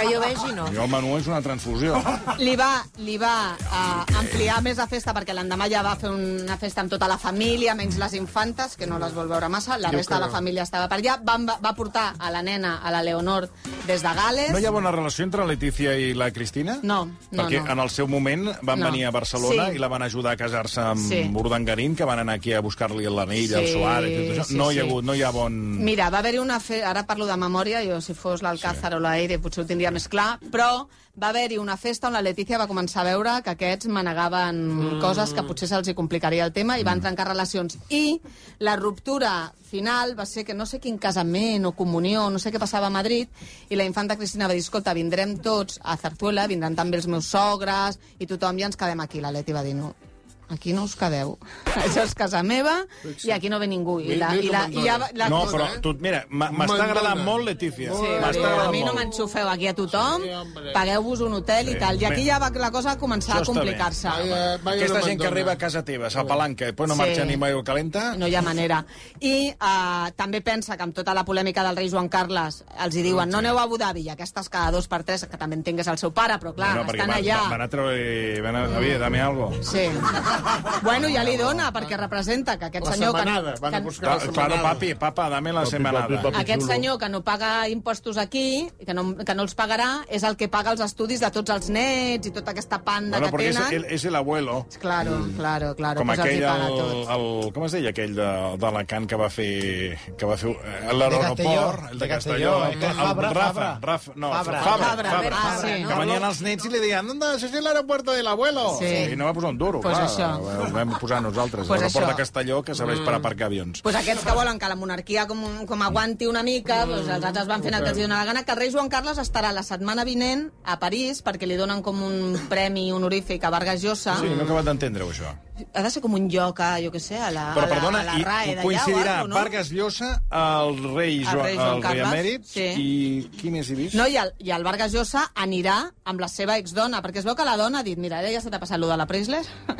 S4: Que jo vegi, no.
S2: Jo el menú és una transfusió.
S3: Li va, li va eh, ampliar més la festa perquè l'endemà ja va fer una festa amb tota la família, menys les infantes, que no les vol veure massa. La
S6: Jo
S3: resta de la
S6: que no.
S3: família estava per allà. Van, va, va portar a la nena, a la Leonor, des de Gales.
S2: No hi ha bona relació entre Letícia i la Cristina?
S3: No, no,
S2: Perquè
S3: no.
S2: en el seu moment van
S3: No.
S2: venir a Barcelona
S3: Sí.
S2: i la van ajudar a casar-se amb
S3: Sí.
S2: Urdangarín, que van anar aquí a buscar-li l'anell, el
S3: Sí,
S2: Suárez i tot això.
S3: sí,
S2: no hi ha
S3: sí.
S2: hagut, no hi ha bon...
S3: Mira, va haver-hi una fe... Ara parlo de memòria, jo si fos l'Alcázar o l'Aire potser ho tindria més clar, però va haver-hi una festa on la Letícia va començar a veure que aquests manegaven coses que potser se'ls hi complicaria el tema i van trencar relacions. I la ruptura final va ser que no sé quin casament o comunió, no sé què passava a Madrid, i la infanta Cristina va dir, escolta, vindrem tots a Zarzuela, vindran també els meus sogres i tothom, i ens quedem aquí. La Leti va dir, no, aquí no us quedeu. Això és casa meva i aquí no ve ningú. I la, i la, i ja, va- la,
S2: no,
S3: cosa,
S2: però
S3: eh?
S2: tu, mira, m'ha- m'està
S6: M'encanta.
S2: agradant molt, Letícia.
S6: Sí,
S3: Sí,
S2: M'està
S3: diu, a
S2: agradant
S3: mi no
S2: molt.
S3: m'enxufeu aquí a tothom,
S6: hombre.
S3: pagueu-vos un hotel
S2: Sí,
S3: i tal. I aquí
S2: bé.
S3: ja va la cosa a començar
S2: Això
S3: a
S2: està bé.
S3: complicar-se.
S6: Vaya, vaya
S2: Aquesta gent que
S6: demandona.
S2: arriba a casa teva, s'apalanca, i després no
S3: Sí.
S2: marxa ni mai calenta...
S3: No hi ha manera. I eh, també pensa que amb tota la polèmica del rei Joan Carles els hi
S2: Ah,
S3: diuen no aneu a Abu Dhabi, i aquestes cada dos per tres, que també entenc que és el seu pare, però clar,
S2: no, perquè
S3: estan
S2: van,
S3: allà.
S2: Van a treure... Van a... Javier, dame algo.
S3: Sí. Bueno, ja li dona, perquè representa que aquest
S6: La
S3: senyor...
S6: setmanada,
S3: que,
S6: van a
S3: que-
S6: buscar
S2: Ta-
S6: la
S2: Claro,
S6: setmanada.
S2: papi, papa, dame la semanada.
S9: papi.
S3: Aquest
S9: Xulo.
S3: senyor que no paga impostos aquí, que no, que no els pagarà, és el que paga els estudis de tots els nets i tota aquesta panda
S2: Bueno,
S3: que
S2: perquè és
S3: tenen.
S2: el, és el abuelo.
S3: Claro, claro, claro.
S2: Com
S3: pues els hi
S2: aquell,
S3: paga
S2: el,
S3: tot.
S2: el, com es deia aquell de, de Lacan que va fer, que va fer eh, l'aeroport,
S8: Castelló,
S2: el de
S8: de
S2: Castelló,
S8: Castelló,
S2: el,
S8: eh?
S2: Rafa,
S8: Fabra,
S2: Rafa,
S8: Fabra.
S2: Rafa, no, Fabra,
S8: Fabra.
S2: Fabra,
S3: Fabra, ah, sí,
S2: que
S3: no?
S2: venien els nets i li deien, anda, això és l'aeropuerto del abuelo.
S3: Sí.
S2: I no va posar un duro,
S3: Pues
S2: clar,
S3: això.
S2: el vam posar nosaltres,
S3: Pues
S2: l'aeroport
S3: això. Mm.
S2: de Castelló, que serveix per aparcar avions.
S3: Pues aquests que volen que la monarquia com, com aguanti una mica,
S2: Mm.
S3: pues els altres van fent el que els hi dona la gana, que el rei Joan Carles estarà la setmana vinent a París perquè li donen com un premi honorífic a Vargas Llosa.
S2: Sí, no he acabat d'entendre-ho, això.
S3: Ha de ser com un lloc a, jo què sé, a Ah, la,
S2: Però,
S3: a la,
S2: perdona,
S3: a la
S2: i
S3: RAE d'allà
S2: coincidirà
S3: o algo, no?
S2: Vargas Llosa, el rei
S3: El
S2: Joan,
S3: rei Joan
S2: el rei
S3: Carles,
S2: emèrit,
S3: sí.
S2: i qui més hi vist?
S3: No, i el, i el Vargas Llosa anirà amb la seva exdona, perquè es veu que la dona ha dit, mira, ara ja se t'ha passat allò de la Preisler,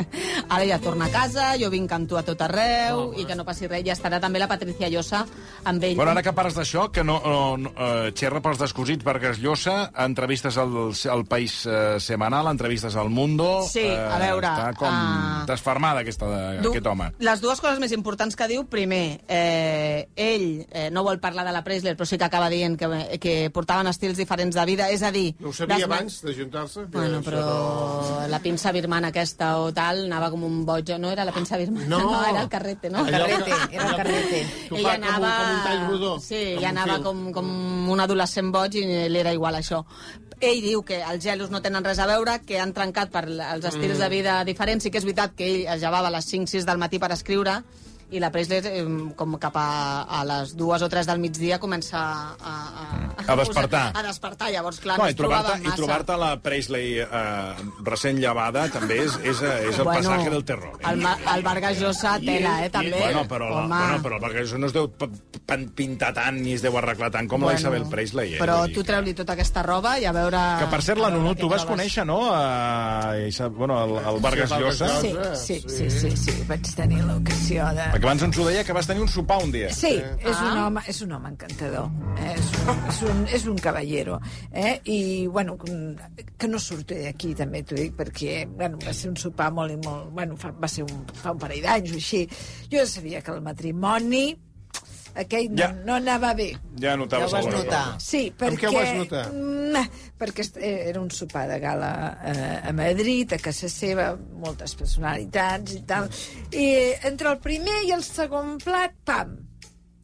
S3: ara ja torna a casa, jo vinc amb tu a tot arreu, i que no passi res, i estarà també la Patricia Llosa amb ell.
S2: Bueno, ara que parles d'això, que no, no, no eh, xerra pels descosits, Vargas Llosa, entrevistes al, al País eh, Semanal, entrevistes al Mundo... eh,
S3: Sí, a veure,
S2: Està com
S3: ah,
S2: desfarmada, aquesta, de,
S3: Du-
S2: aquest home.
S3: Les dues coses més importants que diu, primer, eh, ell eh, no vol parlar de la Preisler, però sí que acaba dient que, que portaven estils diferents de vida, és a dir...
S6: No ho sabia
S3: les-
S6: abans d'ajuntar-se? que
S3: Bueno,
S6: això
S3: però la pinça birmana aquesta o tal anava com un boig, no era la pinça birmana, no,
S6: No.
S3: era el carrete, no?
S6: Allò-
S4: Carrete, era el carrete.
S6: Tu
S3: ella
S6: fa com un-
S3: anava,
S6: com un tall rodó,
S3: Sí,
S6: com
S3: ella
S6: un
S3: anava
S6: fil.
S3: com, com un adolescent boig i li era igual això. Ell diu que els gelos no tenen res a veure, que han trencat per els estils
S2: Mm.
S3: de vida diferents. Sí que és veritat que ell es llevava a les 5-6 del matí per escriure i la Presley, eh, com cap a, a les dues o tres del migdia, comença a... A,
S2: A despertar.
S3: A despertar, llavors, clar,
S2: No,
S3: no,
S2: i
S3: es trobava
S2: trobar-te
S3: massa.
S2: i trobar-te la Presley eh, recent llevada també és, és, eh, és el bueno, passatge del terror. Eh?
S3: El, Ma- el Vargas Llosa tela, eh, també.
S2: Bueno, però, la,
S3: Home.
S2: bueno, però perquè això no es deu p- p- pintar tant ni es deu arreglar tant com la Isabel Presley. Eh?
S3: Però
S2: Vull dir
S3: tu
S2: que-
S3: treu-li tota aquesta roba i a veure...
S2: Que, per cert, la
S3: a veure
S2: Nunu,
S3: què
S2: tu vas
S3: trobes.
S2: conèixer, no?, a, Isabel- bueno, el, el Vargas
S6: Sí, Vargas
S2: Llosa.
S6: Llosa.
S9: Sí, sí, sí, sí, sí, vaig tenir l'ocasió de...
S2: Perquè abans ens ho deia que vas tenir un sopar un dia.
S9: Sí, és un home, és un home encantador, eh, és, un, és, un, és un caballero, eh? i bueno, que no surti d'aquí també t'ho dic, perquè bueno, va ser un sopar molt i molt, bueno, fa, va ser un, fa un parell d'anys o així, jo ja sabia que el matrimoni aquell no,
S2: Ja.
S9: no anava bé.
S2: Ja notaves
S4: Ja ho vas
S2: alguna
S4: notar.
S2: cosa.
S9: Sí,
S6: Amb
S9: perquè...
S6: què ho vas notar?
S9: Mm, perquè est- eh, era un sopar de gala eh, a Madrid, a casa seva, moltes personalitats i tal. I entre el primer i el segon plat, pam,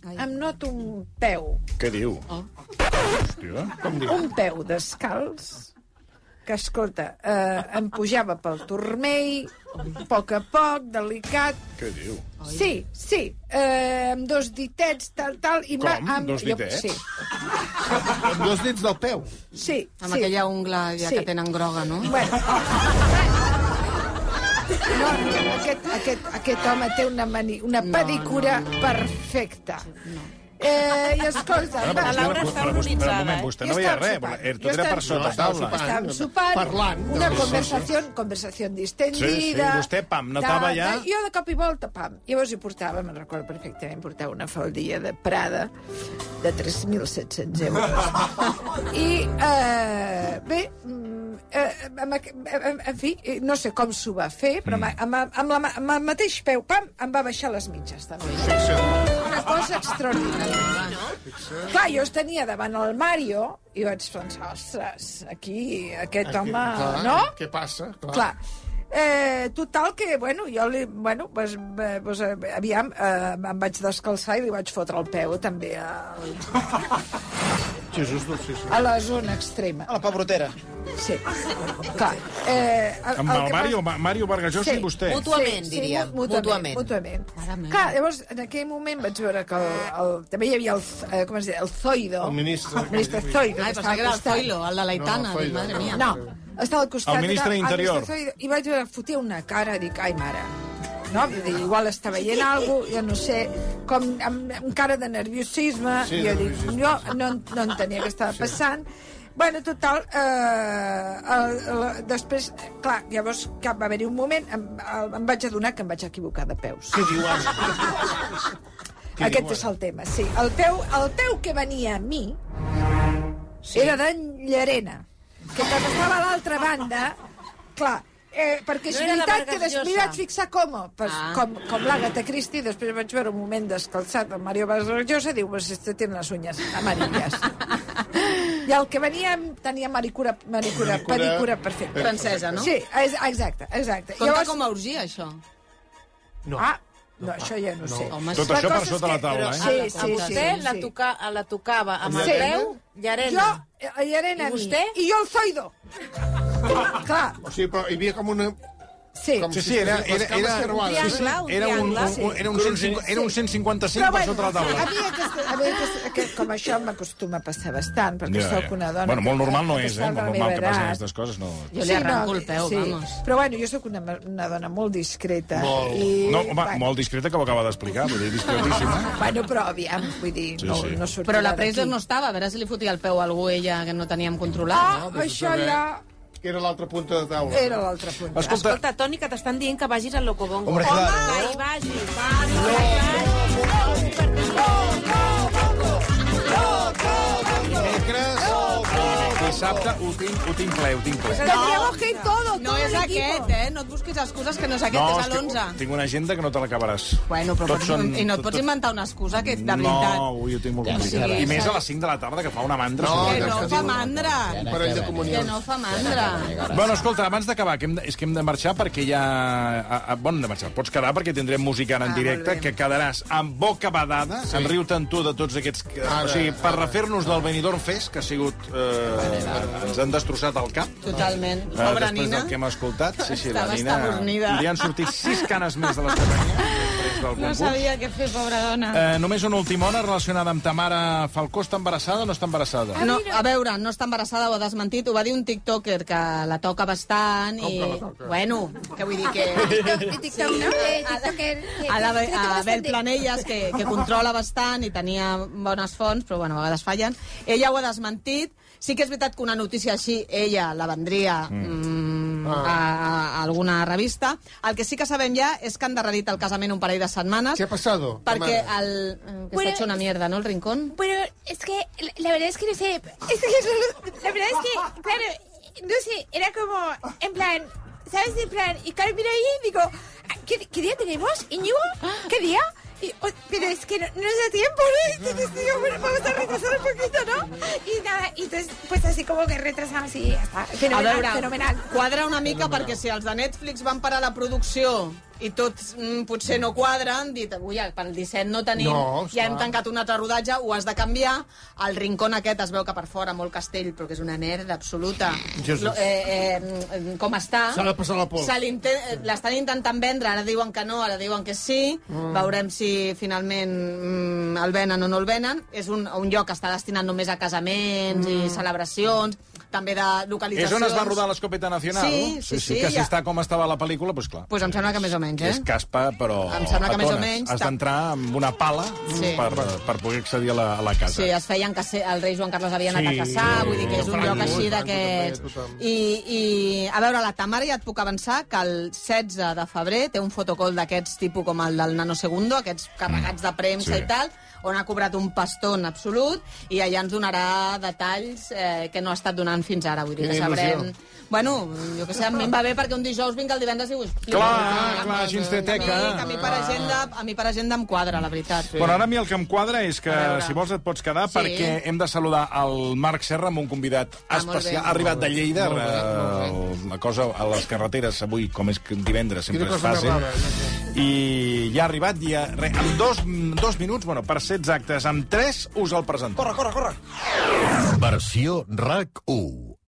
S3: Ai.
S9: em noto un peu,
S2: Què diu?
S3: Oh.
S2: Hòstia. Com diu?
S9: un peu descalç, que, escolta, eh, em pujava pel turmell, a poc a poc, delicat,
S2: Què diu?
S9: Sí, sí, eh, amb dos ditets, tal, tal... I
S2: Com?
S9: Amb...
S2: Dos ditets?
S9: Jo,
S6: Amb dos dits del peu.
S9: sí, sí.
S3: Amb
S9: sí.
S3: aquella ungla ja
S9: Sí.
S3: que tenen groga, no?
S9: Bueno. No, no, aquest, aquest, aquest home té una, mani, una pedicura perfecta. Eh, I escolta,
S2: Bueno, però
S9: va,
S2: vostè-
S4: Laura està
S2: però vostè-
S4: horroritzada,
S2: però un moment,
S4: eh?
S2: vostè
S9: Jo
S2: no veia
S9: estava
S2: res.
S9: sopant.
S2: Era
S9: Jo
S2: tot era per
S9: estava
S2: sota
S6: sopant.
S2: taula.
S6: Estava
S9: estàvem sopant,
S6: Parlant,
S9: una
S6: doncs.
S9: conversació, conversació distendida...
S2: Sí, sí, vostè, pam, notava
S9: tal,
S2: ja-
S9: tal. Jo de cop i volta, pam. Llavors hi portava, me'n recordo perfectament, portava una faldilla de Prada de 3.700 euros. I, eh, bé, mm, eh, amb, aqu- en, en fi, eh, no sé com s'ho
S2: Mm.
S9: va fer, però amb, amb, amb, la, ma- amb el mateix peu, pam, em va baixar les mitges, també.
S6: Sí, sí.
S9: una cosa extraordinària. Clar, jo es tenia davant el Mario i vaig pensar, ostres, aquí aquest
S6: Aquí,
S9: home...
S6: clar,
S9: no?
S6: Què passa?
S9: Clar. Eh, total, que, bueno, jo li, bueno, pues, eh, pues, eh, aviam, eh, em vaig descalçar i li vaig fotre el peu també al,
S6: Jesús dolcíssim.
S9: a la zona extrema.
S5: A la pebrotera.
S9: Sí, clar. Eh, el,
S2: Amb el
S9: que
S2: Mario,
S9: passa-
S2: Ma- Mario Vargas Llosa i vostè.
S4: Mútuament, diria,
S9: mu- Mútuament.
S4: mútuament.
S9: mútuament. Clar, llavors, en aquell moment vaig veure que el, el, també hi havia el, Z- eh, com es deia, el Zoido.
S6: El ministre.
S9: El ministre Zoido.
S3: Ai,
S9: que estava
S3: pensava que era
S9: al
S3: el
S9: costat.
S3: Zoilo, el de la Itana.
S6: No,
S3: No,
S6: Zoilo,
S3: madre mía.
S9: No, estava al costat.
S2: El ministre
S9: era-
S2: d'Interior.
S9: ministre Zoido, I vaig veure, fotia una cara, dic, ai, mare, no? Vull dir, igual està veient alguna cosa, jo no sé, com amb, amb cara de nerviosisme,
S6: Sí,
S9: i jo
S6: de
S9: dic,
S6: nerviosisme.
S9: jo no, no entenia què estava passant. Bueno, total, eh, el, el, després, clar, llavors que va haver-hi un moment, em, el, em vaig adonar que em vaig equivocar de peus.
S6: Què diu ara? Què
S9: Aquest
S6: diuen?
S9: és el tema, sí. El peu, el peu que venia a mi sí. era d'en Llarena, que quan estava a l'altra banda, clar, eh, perquè és
S4: No era la
S9: veritat que
S4: Vargas
S9: després m'hi
S4: Llosa.
S9: vaig fixar com, pues,
S4: Ah.
S9: ah. com, com l'Àgata Cristi, després vaig veure un moment descalçat el Mario Vargas Llosa, diu, pues este tiene les uñas amarillas. I el que venia tenia maricura, maricura,
S6: Manicura-
S9: pedicura perfecta.
S3: Francesa, no?
S9: Sí, és- exacte, exacte.
S3: Compte com a orgia, això.
S9: No. Ah, no, això ja no, no. sé.
S3: Home,
S2: Tot
S3: sí.
S2: això
S9: La
S2: per
S9: cosa
S2: sota
S9: és
S2: la
S9: que-
S2: taula,
S9: però
S2: eh?
S9: Sí, sí, sí.
S4: vostè
S9: sí,
S4: la,
S9: sí.
S4: toca, la tocava amb el
S9: Sí.
S4: peu,
S9: Jo,
S4: llarena.
S9: eh, Llarena,
S4: I
S9: a mi.
S4: vostè?
S9: I jo el Zoido. Clar,
S6: O sigui, però hi havia com una...
S9: sí.
S6: Com
S2: Sí,
S6: si
S2: sí, era,
S6: estiguessin
S2: era,
S6: les cames
S2: era,
S6: creuades.
S2: sí,
S4: triangle,
S2: sí,
S4: un
S2: era un, un,
S4: triangle,
S2: un, era un, 105, era un
S9: Però
S2: 155 per
S9: bueno,
S2: sota la
S9: a
S2: taula.
S9: mi, aquesta, a mi aquesta, que, com això m'acostuma a passar bastant,
S2: Ja,
S9: perquè ja,
S2: ja.
S9: sóc una dona...
S2: Bueno, molt
S9: que-
S2: normal no
S9: que
S2: és,
S9: està
S2: eh?
S9: de la
S2: Molt
S9: meva
S2: normal que passin
S9: edat.
S2: aquestes coses, no...
S3: Jo li arranco el peu, vamos.
S9: Però bueno, jo sóc una, una dona molt discreta.
S6: Molt.
S9: I,
S2: No, home,
S9: bueno, Ah,
S2: molt discreta que ho acaba d'explicar, vull dir, discretíssima.
S9: Bueno, però aviam, vull dir,
S2: Sí,
S9: no,
S2: sí.
S9: no sortirà
S3: Però la Preisler
S9: d'aquí.
S3: no estava, a veure si li fotia el peu a algú ella que no teníem controlat.
S9: Ah,
S6: No, vés a
S9: això
S6: saber.
S9: ja
S6: Era l'altra punta de taula.
S9: era l'altre punt.
S2: Escolta,
S4: Escolta, Toni, que t'estan dient que vagis al Locobongo.
S5: Hombre, claro.
S4: Que hi vagis. Vamos, que hi vagis.
S2: dimecres, dissabte, ho tinc, ho tinc ple, ho tinc ple.
S9: Tendríamos que ir todo,
S3: No
S9: todo el
S3: és
S9: equipo.
S3: aquest, eh? No et busquis excuses que no és aquest, és a
S2: és que
S3: l'11.
S2: Tinc una agenda que no te l'acabaràs.
S3: Bueno, però
S2: Tots
S3: pots,
S2: són-
S3: i no et
S2: tot-
S3: pots
S2: tot-
S3: inventar una excusa que, de
S2: No,
S3: veritat.
S2: avui ho tinc molt complicat.
S3: sí,
S2: I més
S3: sí.
S2: a les 5 de la tarda, que fa una mandra.
S6: No,
S3: Que
S2: sobre-
S3: no fa mandra.
S6: Un parell de
S3: Que
S6: comunions.
S3: no fa mandra.
S2: Bueno, escolta, abans d'acabar, que hem de, és que hem de marxar perquè ja... A, a, bon, hem de marxar. Pots quedar perquè tindrem música
S3: Ah,
S2: ara en directe, que quedaràs amb boca badada, sí. en riu tant tu de tots aquests... que-
S6: Ara,
S2: o sigui, per
S6: ara.
S2: refer-nos del Benidorm Fest, que ha sigut... Eh, ens han destrossat el cap.
S3: Totalment.
S2: Eh,
S3: Pobra
S2: després
S3: Nina.
S2: del que hem escoltat, sí, sí, la
S3: Estava
S2: Nina...
S3: estabornida.
S2: Li han sortit sis canes més de les que tenia després del
S3: No
S2: concurs.
S3: sabia què fer, pobra dona.
S2: Eh, només una última hora relacionada amb ta mare Falcó. Està embarassada o no està embarassada?
S3: No, a veure, no està embarassada, ho ha desmentit. Ho va dir un tiktoker que la toca bastant i... Bueno, que vull dir que... Eh,
S10: eh,
S3: A la, Be- a Bel Planelles, que, que controla bastant i tenia bones fonts, però bueno, a vegades fallen. Ella ho ha desmentit. Sí que és veritat que una notícia així ella la vendria mm,
S6: Ah.
S3: a, a alguna revista. El que sí que sabem ja és que han derredit el casament un parell de setmanes
S6: Què ha passado?
S3: perquè
S6: Tamara?
S3: el... eh, Que
S10: Bueno,
S3: està hecho una mierda, no?, el rincón.
S10: Pero es que la- la verdad es que no sé. Es que no- la verdad es que, claro, no sé, era como, en plan, ¿sabes? En plan, y claro, miro ahí y digo, "Ah, ¿qué, qué día tenemos, Íñigo? ¿Qué día? Y, o- pero es que no, no nos da tiempo, ¿no? Y entonces digo, bueno, vamos a retrasar un poquito, ¿no? Y nada, y entonces, pues así como que retrasamos y ya está. Fenomenal,
S3: a veure,
S10: fenomenal.
S3: quadra una mica perquè si els de Netflix van parar la producció i tots mm, potser no quadra, han dit, avui pel 17 no tenim,
S6: No,
S3: ja hem
S6: clar.
S3: tancat un altre rodatge, ho has de canviar. El rincón aquest es veu que per fora, molt castell, però que és una merda absoluta.
S6: Jesús.
S3: eh, eh, com està?
S6: S'ha de passar la por.
S3: Se l'inten- eh, L'estan intentant vendre, ara diuen que no, ara diuen que sí.
S2: Mm.
S3: Veurem si finalment mm, el venen o no el venen. És un, un lloc que està destinat només a casaments i celebracions, també de
S2: Mm. És
S3: localitzacions.
S2: on es va rodar l'Escopeta Nacional?
S3: Sí,
S2: no?
S3: sí, sí,
S2: que si
S3: ja.
S2: està com estava la pel·lícula, doncs clar.
S3: Pues em sembla que més o menys, eh?
S2: És caspa, però
S3: Em sembla que
S2: a
S3: més o
S2: tones.
S3: menys
S2: Has
S3: tam-
S2: d'entrar amb una pala
S3: Sí.
S2: per, per poder accedir a la, a la casa.
S3: Sí, es feien que el rei Joan Carles havia anat
S2: Sí.
S3: a caçar, vull dir que és un
S6: Franco,
S3: lloc així
S6: Franco també,
S3: d'aquests.
S6: tothom.
S3: I, I, a veure, la Tamara ja et puc avançar que el 16 de febrer té un fotocol d'aquests tipus com el del Nanosegundo, aquests carregats de premsa
S2: Sí.
S3: i tal, on ha cobrat un pastó en absolut, i allà ens donarà detalls eh, que no ha estat donant fins ara, vull dir que
S2: Quina il·lusió.
S3: sabrem... Bueno, jo que sé, a mi em va bé perquè un dijous vinc el divendres i ho explico.
S2: Clar, clar, així ens té teca.
S3: A mi, que a mi per agenda, a mi per agenda em quadra, la veritat.
S2: Però ara a mi el que em quadra és que,
S3: A veure.
S2: si vols, et pots quedar
S3: Sí.
S2: perquè hem de saludar el Marc Serra amb un convidat
S3: Ah, molt bé.
S2: especial. Ha arribat de Lleida,
S3: Molt bé,
S2: eh, la cosa a les carreteres avui, com és que divendres, sempre
S6: Quina
S2: és
S6: cosa més
S2: fàcil.
S3: eh,
S6: rara,
S2: I ja ha arribat, ja, re, en dos, dos minuts, bueno, per ser exactes, en tres us el presento. Corre, corre, corre.
S11: Versió RAC 1